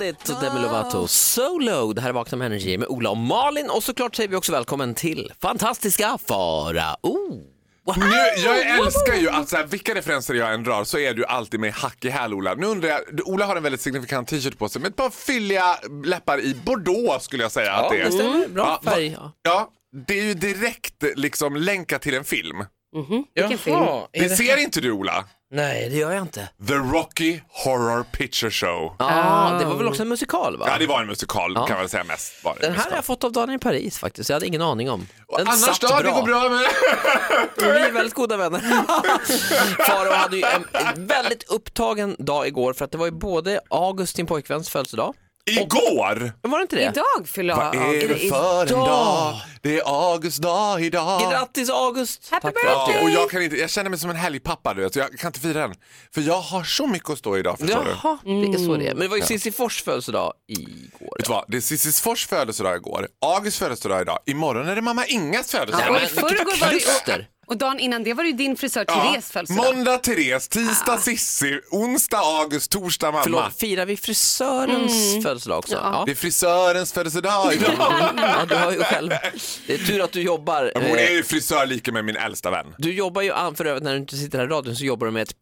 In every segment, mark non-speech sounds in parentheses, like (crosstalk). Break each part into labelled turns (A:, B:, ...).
A: Bandit och Demi Lovato Solo. Det här är Vakna med Energy med Ola och Malin och såklart säger vi också välkommen till fantastiska Farao. Oh,
B: Nu, jag älskar ju att så här, vilka referenser jag än drar så är du alltid med hack i häl Ola. Nu undrar jag, du- Ola har en väldigt signifikant t-shirt på sig med ett par fylliga läppar i bordeaux skulle jag säga att det är.
A: stämmer. Bra
B: va-
A: färg. ja.
B: Ja, det är ju direkt liksom länkat till en film.
C: Vilken film?
D: Jaha, är
B: Det
D: det-
B: ser inte du Ola?
D: Nej,
A: Det gör jag inte.
B: The Rocky Horror Picture Show.
A: Ja, Det var väl också en musikal va?
B: Ah. Ja, det var en musikal kan man väl säga mest. Var det en
A: Den här har
B: musikal.
A: jag fått av Daniel Paris faktiskt. Jag hade ingen aning om. Den
B: Annars
A: satt
B: då? Det går bra med...
A: Vi är väldigt goda
B: (laughs)
A: vänner. Farao hade ju en väldigt upptagen dag igår för att det var ju både August, din pojkväns födelsedag.
B: Igår!
A: Var det inte det?
C: Idag fyller jag
B: Vad är det för en
A: idag?
B: dag? Det är August dag idag.
A: Grattis August!
C: Happy
A: Tack för allt du
B: Ja,
A: gör.
B: och jag, kan inte, jag känner mig som en helgpappa, du vet, så jag kan inte fira den. För jag har så mycket att stå i idag, förstår du. Vet
A: Jaha, det är så det är.
C: Mm.
A: Men det var ju Cissi Fors födelsedag igår.
B: du vad? Det är Cissis Fors födelsedag igår, August födelsedag idag, imorgon är det mamma Ingas födelsedag.
A: Ja,
C: Och
A: men
C: i
A: vilket
C: förrgår var det
A: kluster.
C: ju, och dagen innan det var det ju din frisör Therese födelsedag. Ah.
B: Måndag Therese, tisdag Sissi, onsdag August, torsdag mamma.
A: Förlåt, firar vi frisörens
C: Mm.
A: födelsedag också? Ja. Mm.
B: Det är frisörens födelsedag
A: (laughs)
B: idag.
A: Ja, du har ju själv. Det är tur att du jobbar.
B: Men Hon
A: eh,
B: är ju frisör lika med min äldsta vän.
A: Du jobbar ju, an- för övrigt när du inte sitter här i radion, så jobbar du med ett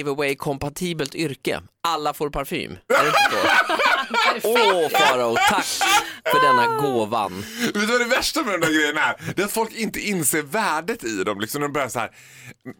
A: present-giveaway-kompatibelt yrke. Alla får parfym. Är det inte
C: (laughs)
A: så? Åh Farao, tack för denna gåvan.
B: Vet du vad det värsta med de där grejerna är? Det är att folk inte inser värdet i dem. Liksom de börjar så här,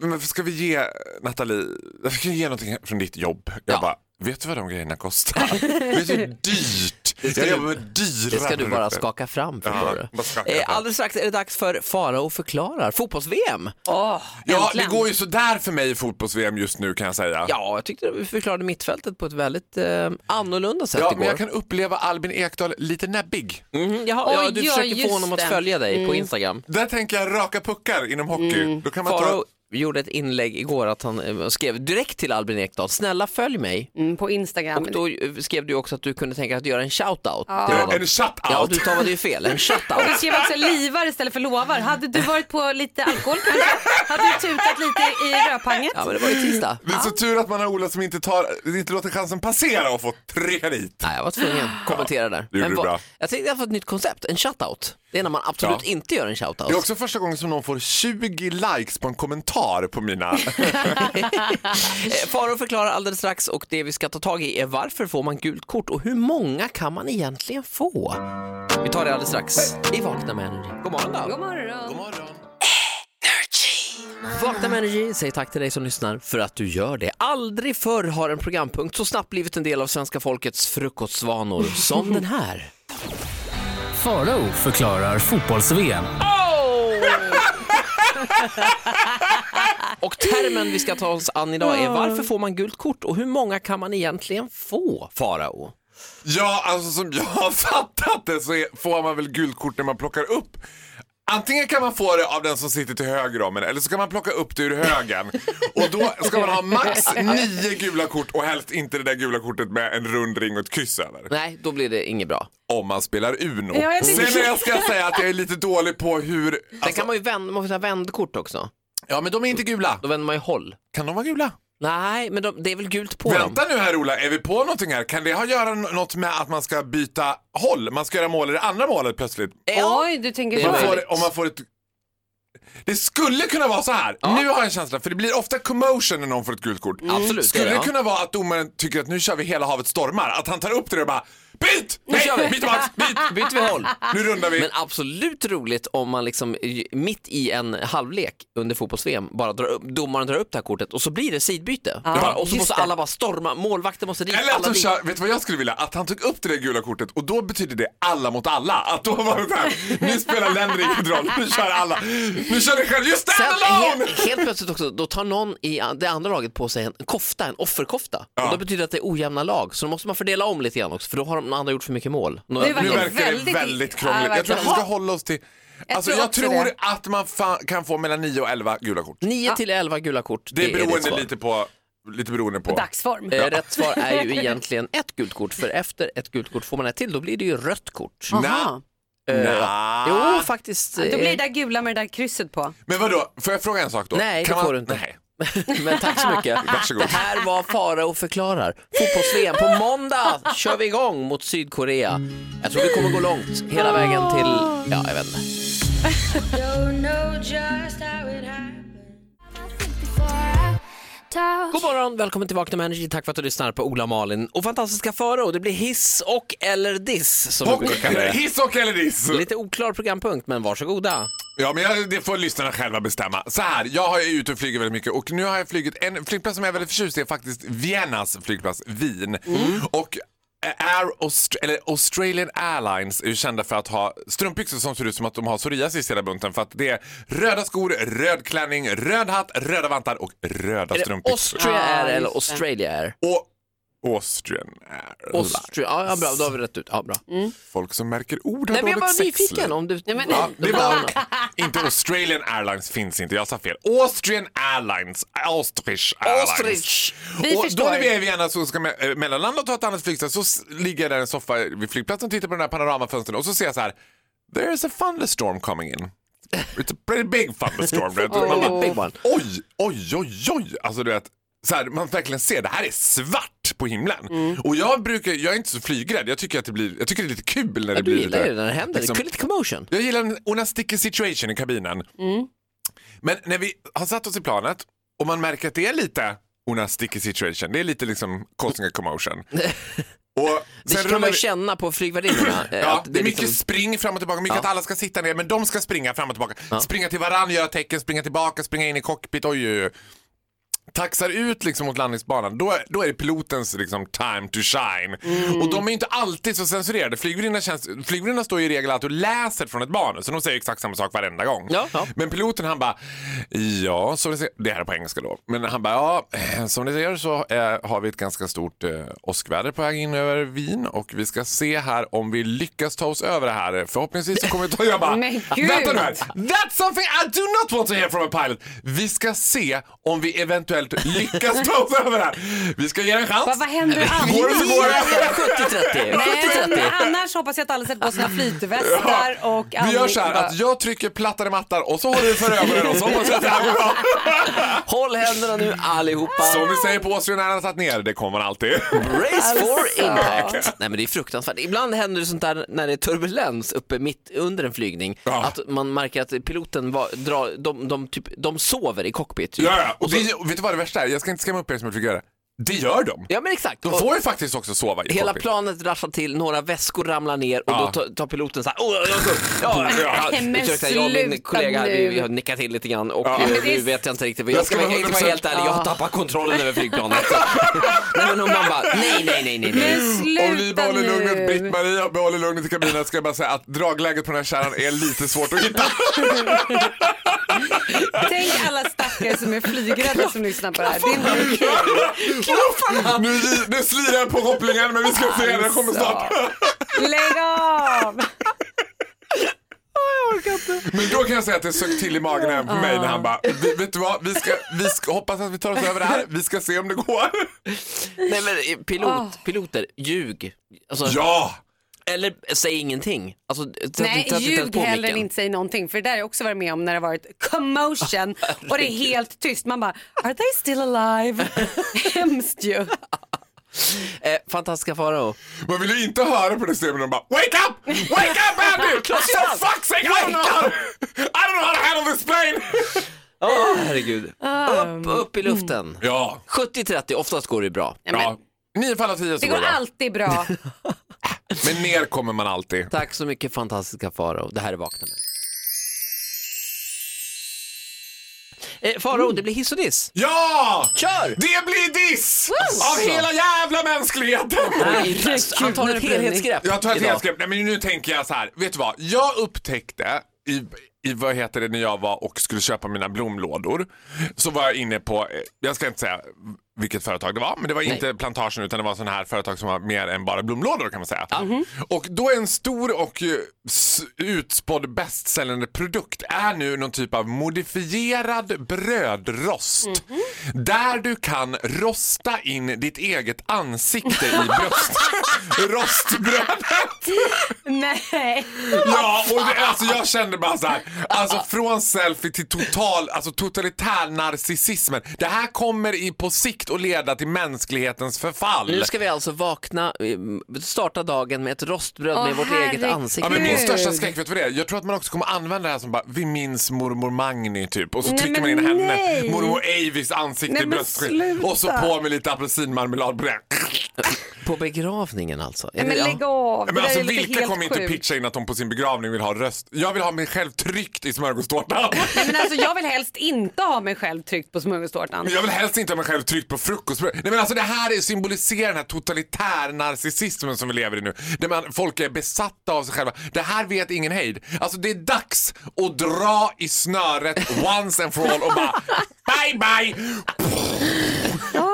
B: men varför ska vi ge Nathalie, varför ska vi ge någonting från ditt jobb? Jag
A: Ja.
B: bara, vet du vad de grejerna kostar? vet
A: (laughs)
B: du hur dyrt? Jag
A: du-
B: jobbar med dyra
A: Det ska du bara
B: produkter.
A: skaka fram
B: Ja,
A: förstår
B: bara skaka
A: du. Eh,
B: fram.
A: Alldeles strax är det dags för Farao förklarar fotbolls-VM.
C: Åh,
B: Ja, det
C: äntligen.
B: går ju sådär för mig i fotbolls-VM just nu kan jag säga.
A: Ja, jag tyckte vi förklarade mittfältet på ett väldigt eh, annorlunda sätt
B: Ja,
A: igår.
B: men jag kan uppleva Albin Ekdal lite näbbig.
A: Mhm, jaha, ja,
C: Oj,
A: du
C: ja,
A: försöker få
C: just
A: honom att
C: det. Mm.
A: följa dig på Instagram.
B: Där tänker jag raka puckar inom hockey. Då kan man
A: Mm. Faro
B: ta...
A: gjorde ett inlägg igår att han eh, skrev direkt till Albin Ekdal, snälla följ mig.
C: Mm, på Instagram.
A: Och då eh, skrev du också att du kunde tänka dig att göra en shoutout till
B: Ja,
A: honom.
B: En shutout!
A: Ja, du stavade ju fel, en
C: Du
A: shoutout.
C: skrev också livar istället för lovar. Hade du varit på lite alkohol kanske? Hade du tutat lite i rödpanget?
A: Ja, men det var ju tisdag.
B: Det är så tur att man har Ola som inte, tar, inte låter chansen passera och få trycka dit.
A: Nej, jag var tvungen att kommentera där.
B: gjorde du
A: vad-
B: bra.
A: jag tänkte jag får ett nytt koncept, en shoutout. Det är när man absolut
B: Ja.
A: inte gör en
B: Det är
A: shoutout.
B: också första gången som någon får 20 likes på en kommentar på mina...
A: Eh, (laughs) Faro förklarar alldeles strax och det vi ska ta tag i är varför får man gult kort och hur många kan man egentligen få? Vi tar det alldeles strax i Vakna med Energy. God morgon då.
C: God morgon.
A: Vakna med energi, säg tack till dig som lyssnar för att du gör det. Aldrig förr har en programpunkt så snabbt blivit en del av svenska folkets
E: (laughs)
A: frukostvanor som den här.
E: Farao förklarar fotbolls-VM.
A: Och termen vi ska ta oss an idag är varför får man gult kort och hur många kan man egentligen få, Farao?
B: (laughs) ja, alltså som jag har fattat det så är, får man väl gult kort när man plockar upp. Antingen kan man få det av den som sitter till höger om en eller så kan man plocka upp det ur högen. Och då ska man ha max nio gula kort och helst inte det där gula kortet med en rund ring och ett kryss över.
A: Nej, då blir det inget bra.
B: Om man spelar Uno.
C: Ja, jag
B: Sen
C: tycker-
B: är jag ska jag säga att jag är lite dålig på hur...
A: Sen
B: Alltså,
A: kan man ju vända, man får säga vändkort också.
B: ja, men de är inte gula.
A: Då vänder man ju håll.
B: Kan de vara gula?
A: Nej, men de, det är väl gult på dem?
B: Vänta nu här Ola, är vi på någonting här? Kan det ha att göra n- något med att man ska byta håll? Man ska göra mål i det andra målet plötsligt?
A: Ja.
C: Oj, du tänker
A: Det är
C: så.
B: Man
A: möjligt.
B: får, om man får ett... Det skulle kunna vara så här. Nu har jag en känsla, för det blir ofta commotion när någon får ett gult kort.
A: Mm. Absolut,
B: Skulle
A: det är det,
B: det
A: ja.
B: kunna vara att domaren tycker att nu kör vi hela havet stormar? Att han tar upp det och bara Byt!
A: kör vi.
B: Nej, byt Max! Byt!
A: (laughs) Byter vi håll?
B: Nu rundar vi.
A: Men absolut roligt om man liksom i- mitt i en halvlek under fotbolls-VM bara drar upp, domaren drar upp det här kortet och så blir det sidbyte. Bara, och så
C: just
A: måste
C: det.
A: alla bara storma, målvakten måste dit,
B: Eller att
A: alla
B: de
A: dit.
B: kör, vet du vad jag skulle vilja? Att han tog upp det där gula kortet och då betyder det alla mot alla. Att då var det så här, nu spelar länder ingen roll, nu kör alla. Nu kör ni själv, you
A: Sen
B: stand alone!
A: helt, helt plötsligt också, då tar någon i an- det andra laget på sig en kofta, en offerkofta. Och det betyder att det är ojämna lag, så då måste man fördela om lite grann också, för då har de andra gjort för mycket mål. Några-
C: Det var-
B: Nu
C: Verkligen
B: verkar det
C: väldigt-
B: väldigt
C: Ja,
B: krångligt. Jag tror
C: verkligen.
B: att vi ska hålla oss till... Alltså
C: tror
B: jag
C: också
B: tror
C: det.
B: att man fa- kan få mellan 9 och 11 gula kort.
A: 9 till 11 gula kort,
B: Det är
A: ditt
B: beroende
A: svar.
B: lite på... Lite beroende på.
C: Dagsform.
A: Eh, Rätt svar är ju egentligen ett gult kort, för efter ett gult kort får man ett till, då blir det ju rött kort. Eh,
C: Aha.
B: Eh, Nja.
A: Jo, faktiskt.
C: Då blir
A: eh,
C: det där gula med det där krysset på.
B: Men vadå, får jag fråga en sak då?
A: Nej, det
B: man...
A: får du inte.
B: Nej.
A: (laughs) Men tack så mycket.
B: Varsågod.
A: Det här var Farao förklarar. Fotbolls-VM på måndag kör vi igång mot Sydkorea. Jag tror vi kommer gå långt hela vägen till, ja jag vet inte. God morgon, välkommen till Vakna med Energy. Tack för att du lyssnar på Ola Malin och fantastiska Farao. Det blir hiss och eller diss som vi
B: Och,
A: brukar kalla det.
B: hiss och eller diss?
A: Lite oklar programpunkt men varsågoda.
B: Ja, men jag, det får lyssnarna själva bestämma. Så här, jag är ute och flyger väldigt mycket och nu har jag flugit en flygplats som jag är väldigt förtjust i är faktiskt Viennas flygplats, Wien.
A: Mm.
B: Och eh, Air Aust- eller Australian Airlines är ju kända för att ha strumpbyxor som ser ut som att de har psoriasis i hela bunten för att det är röda skor, röd klänning, röd hatt, röda vantar och röda
A: Är det
B: strumpbyxor.
A: Austria
C: Ja,
A: Air eller
C: just det.
A: Australia Air?
B: Och Austrian Air.
A: Austria, ja, ja bra, då har vi rätt ut. Ja, bra.
B: Folk som märker ord har
A: Nej, men jag
B: dåligt
A: var
B: sexliv.
A: nyfiken om du...
C: men-
B: Ja,
A: de
B: det var
A: namnen.
B: (laughs) inte Australian Airlines finns inte, jag sa fel. Austrian Airlines, Austrich Airlines.
A: Ostrich!
C: Vi
B: och
C: förstår.
B: då när vi är i Vienna så ska me- eh, mellanlanda och ta ett annat flygplats så s- ligger jag där i en soffa vid flygplatsen och tittar på den här panoramafönstren och så ser jag så här, there's a thunderstorm coming in. It's a pretty big thunderstorm. du vet. Man bara,
A: Big one.
B: Oj, oj, oj, oj. Alltså du vet, så här, man verkligen ser det här är svart på himlen.
A: Mm.
B: Och jag brukar, jag är inte så flygrädd. Jag tycker att det blir, jag tycker det är lite kul när det
A: Ja,
B: blir
A: du gillar ju det när det händer.
B: liksom-
A: det är lite commotion.
B: jag gillar en, och en sticky situation i kabinen.
A: Mm.
B: Men när vi har satt oss i planet och man märker att det är lite Una sticky situation. Det är lite liksom causing a
A: (laughs)
B: commotion. Och
A: Det kan
B: rullar
A: man ju
B: vi-
A: känna på
B: (laughs)
A: flygvärdinnorna. eh,
B: Ja,
A: att
B: det, är mycket
A: liksom-
B: spring fram och tillbaka, mycket
A: Ja.
B: att alla ska sitta ner men de ska springa fram och tillbaka. Springa till varandra, göra tecken, springa tillbaka, springa in i cockpit. Oj, oj, oj. Taxar ut liksom mot landningsbanan, då, då är det pilotens liksom, time to shine. Och de är ju inte alltid så censurerade. Flygvärdinnan känns- Flygvärdinnan står ju i regel alltid och läser från ett manus, så de säger exakt samma sak varenda gång.
A: Ja, ja.
B: Men piloten han bara, ja, som ni ser, det här är på engelska då. Men han bara, ja, eh, som ni ser så eh, har vi ett ganska stort eh, åskväder på väg in över Wien och vi ska se här om vi lyckas ta oss över det här. Förhoppningsvis så kommer vi ta... Jag bara,
C: Men gud!
B: vänta nu här. That's something I do not want to hear from a pilot. Vi ska se om vi eventuellt lyckas ta oss över det här. Vi ska ge det en chans.
C: Vad, vad händer annars?
B: Går det så går det.
A: (laughs) 70-30.
C: Nej,
A: 70-30.
C: men annars hoppas jag att alla sätter på sina flytvästar
B: Ja,
C: och
B: vi gör så här
C: andning-
B: att jag trycker plattare mattar och så håller du för ögonen och så hoppas jag att det här går bra.
A: Håll händerna nu allihopa.
B: Som vi säger på Åsö när han har satt ner, det kommer han alltid.
A: Race for impact. Nej men det är fruktansvärt. Ibland händer det sånt där när det är turbulens uppe mitt under en flygning.
B: Ja.
A: Att man märker att piloten var, drar, de, de, typ, de sover i cockpit. Typ.
B: Ja, ja. Och det, och vet du vad det värsta är? Jag ska inte skrämma upp er som jag fick göra. Det gör de.
A: Ja men exakt.
B: De
A: Och
B: får ju faktiskt också sova i
A: Hela
B: cockpit.
A: planet rasslar till, några väskor ramlar ner och
B: Ja.
A: då tar, tar piloten så här, "Åh, jag går upp." ja, ja, ja.
C: Nej, men
A: Ursäkta, jag och min
C: sluta
A: kollega vi,
C: nu.
A: vi har nickat till lite grann och
B: Ja.
A: eh,
B: Men
C: det är-
A: nu vet jag inte riktigt. Jag
B: Jag
A: ska
B: ska vara
A: vara helt- vara helt ärlig, jag har
B: 100%.
A: tappat kontrollen över
C: (laughs)
A: flygplanet. nej men hon man bara, nej nej nej nej. nej.
C: Men
B: Om ni
C: sluta
B: behåller lugnet,
C: nu!
B: Britt-Maria behåller lugnet i kabinen ska jag bara säga att dragläget på den här kärran är lite svårt att hitta.
C: Tänk alla stackare som är flygrädda som lyssnar på det här. Det är inte okej.
B: nu, nu slirar jag på kopplingen men vi ska se, den kommer snart.
C: Lägg av!
B: Men då kan jag säga att det sög till i magen även på mig när han bara, "Vi- vet du vad, vi ska, vi ska hoppas att vi tar oss över det här, vi ska se om det går.
A: Nej men eh, pilot,
C: Ah.
A: piloter, ljug. Alltså,
B: Ja!
A: Eller eh, säg ingenting. Alltså, eh, sätt-
C: Nej,
A: sätt inte ens
C: ljug
A: på
C: hellre än
A: micken.
C: inte säg någonting. För det där har jag också varit med om när det har varit commotion och det är helt tyst. Man bara, are they still alive? Hemskt ju.
A: Eh, fantastiska Farao.
B: Man vill ju inte höra på det stämmet de bara Wake up! Wake up Andy! For fuck's sake! I don't know how, I don't know how to handle this plane!
A: Åh herregud. Upp, upp i luften.
B: Ja,
A: 70-30, oftast går det ju bra.
C: Mm. Ja, men,
B: ja. Nio fall av tio så
C: det
B: går
C: går
B: det bra.
C: alltid bra.
B: Men ner kommer man alltid.
A: Tack så mycket fantastiska Farao. Det här är Vakna med. Eh, Farao,
B: Mm.
A: det blir hiss och diss.
B: Ja!
A: Kör!
B: Det blir diss!
A: Woo!
B: Av hela jävla mänskligheten!
A: Han tar ett helhetsgrepp
B: Jag tar ett
A: idag.
B: helhetsgrepp. Nej men nu tänker jag så här. Vet du vad? Jag upptäckte i, i vad heter det när jag var och skulle köpa mina blomlådor. Så var jag inne på, eh, jag ska inte säga vilket företag det var, men det var inte plantagen utan det var sådana här företag som var mer än bara blomlådor kan man säga. Och då är en stor och eh, s- utspådd bästsäljande produkt är nu någon typ av modifierad brödrost. Där du kan rosta in ditt eget ansikte i bröst, rostbrödet.
C: (laughs) Nej.
B: Ja, och det, alltså jag kände bara så här. Alltså från selfie till total, alltså totalitär narcissismen. Det här kommer i, på sikt att leda till mänsklighetens förfall.
A: Nu ska vi alltså vakna, eh, starta dagen med ett rostbröd
C: Åh,
A: med vårt eget
C: herregud.
B: Ja,
A: ansikte.
B: men min
C: Gud.
B: största skräck, vet du vad det är? Jag tror att man också kommer använda det här som bara, vi minns mormor Magni typ. Och så
C: Nej,
B: trycker man
C: men
B: in henne,
C: nej.
B: mormor Avis ansikte
C: Nej,
B: i
C: men
B: bröstet. Och så
C: sluta.
B: på med lite apelsinmarmelad på det.
A: På begravningen alltså. Är
C: Nej, men
A: det- ja.
C: lägg av. Det
B: Men
C: där
B: alltså
C: är lite
B: vilka
C: helt
B: kommer inte
C: sjukt.
B: pitcha in att de på sin begravning vill ha röst? Jag vill ha mig själv tryckt i smörgåstårtan.
C: (laughs) Nej, men alltså, jag vill helst inte ha mig själv tryckt på smörgåstårtan.
B: Jag vill helst inte ha mig själv tryckt på frukostbröd. Nej men alltså det här är- symboliserar den här totalitär narcissismen som vi lever i nu. Där man, folk är besatta av sig själva. Det här vet ingen hejd. Alltså det är dags att dra i snöret once and for all och bara bye bye!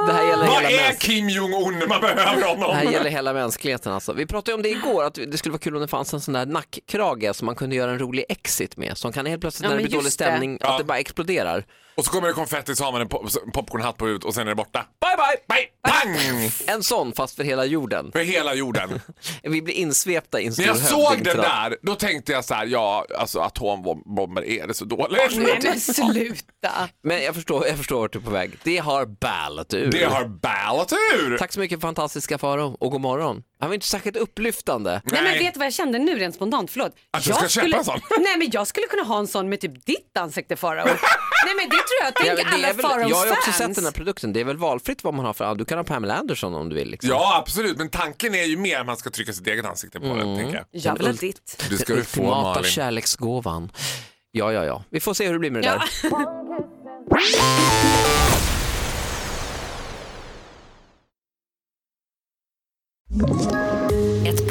A: Det här gäller
B: Vad
A: hela
B: är
A: mäns-
B: Kim Jong-Un när man behöver
A: Det här
B: honom?
A: gäller hela mänskligheten alltså. Vi pratade ju om det igår, att det skulle vara kul om det fanns en sån där nackkrage som man kunde göra en rolig exit med. Som kan helt plötsligt
C: Ja,
A: när det
C: men
A: blir dålig
C: just det.
A: stämning, att
B: Ja.
A: det bara exploderar.
B: Och så kommer det konfetti så har man en pop- popcornhatt på huvudet och sen är det borta. Bye bye! Bye! Pang!
A: En sån fast för hela jorden.
B: För hela jorden.
A: Vi blir insvepta i en stor
B: När jag såg den
A: hövdingtratt.
B: där, då tänkte jag så här, ja alltså atombomber, är det så dåligt?
C: Nej men sluta.
A: Men jag förstår, jag förstår vart du är på väg. Det har ballat ur.
B: Det har ballat ur!
A: Tack så mycket fantastiska Faro och god morgon. Han var inte särskilt upplyftande.
C: Nej. men vet du vad jag kände nu rent spontant? Förlåt.
B: Att du ska köpa en sån?
C: (laughs) Nej men jag skulle kunna ha en sån med typ ditt
B: (laughs)
C: ansikte Farao. Nej men det tror jag. Tänk
A: det
C: alla
A: är väl,
C: Faraos
A: jag har ju också
C: fans.
A: sett den här produkten, det är väl valfritt vad man har för, du kan ha Pamela Anderson om du vill. Liksom.
B: Ja, absolut. Men tanken är ju mer att man ska trycka sitt eget ansikte på den, tänker jag.
C: Mm. Jag vill ha ditt.
B: Det ska
A: Den
B: du få,
A: ultimata
B: Malin.
A: kärleksgåvan. Ja, ja, ja. Vi får se hur det blir med det
C: Ja.
A: där.
D: Ett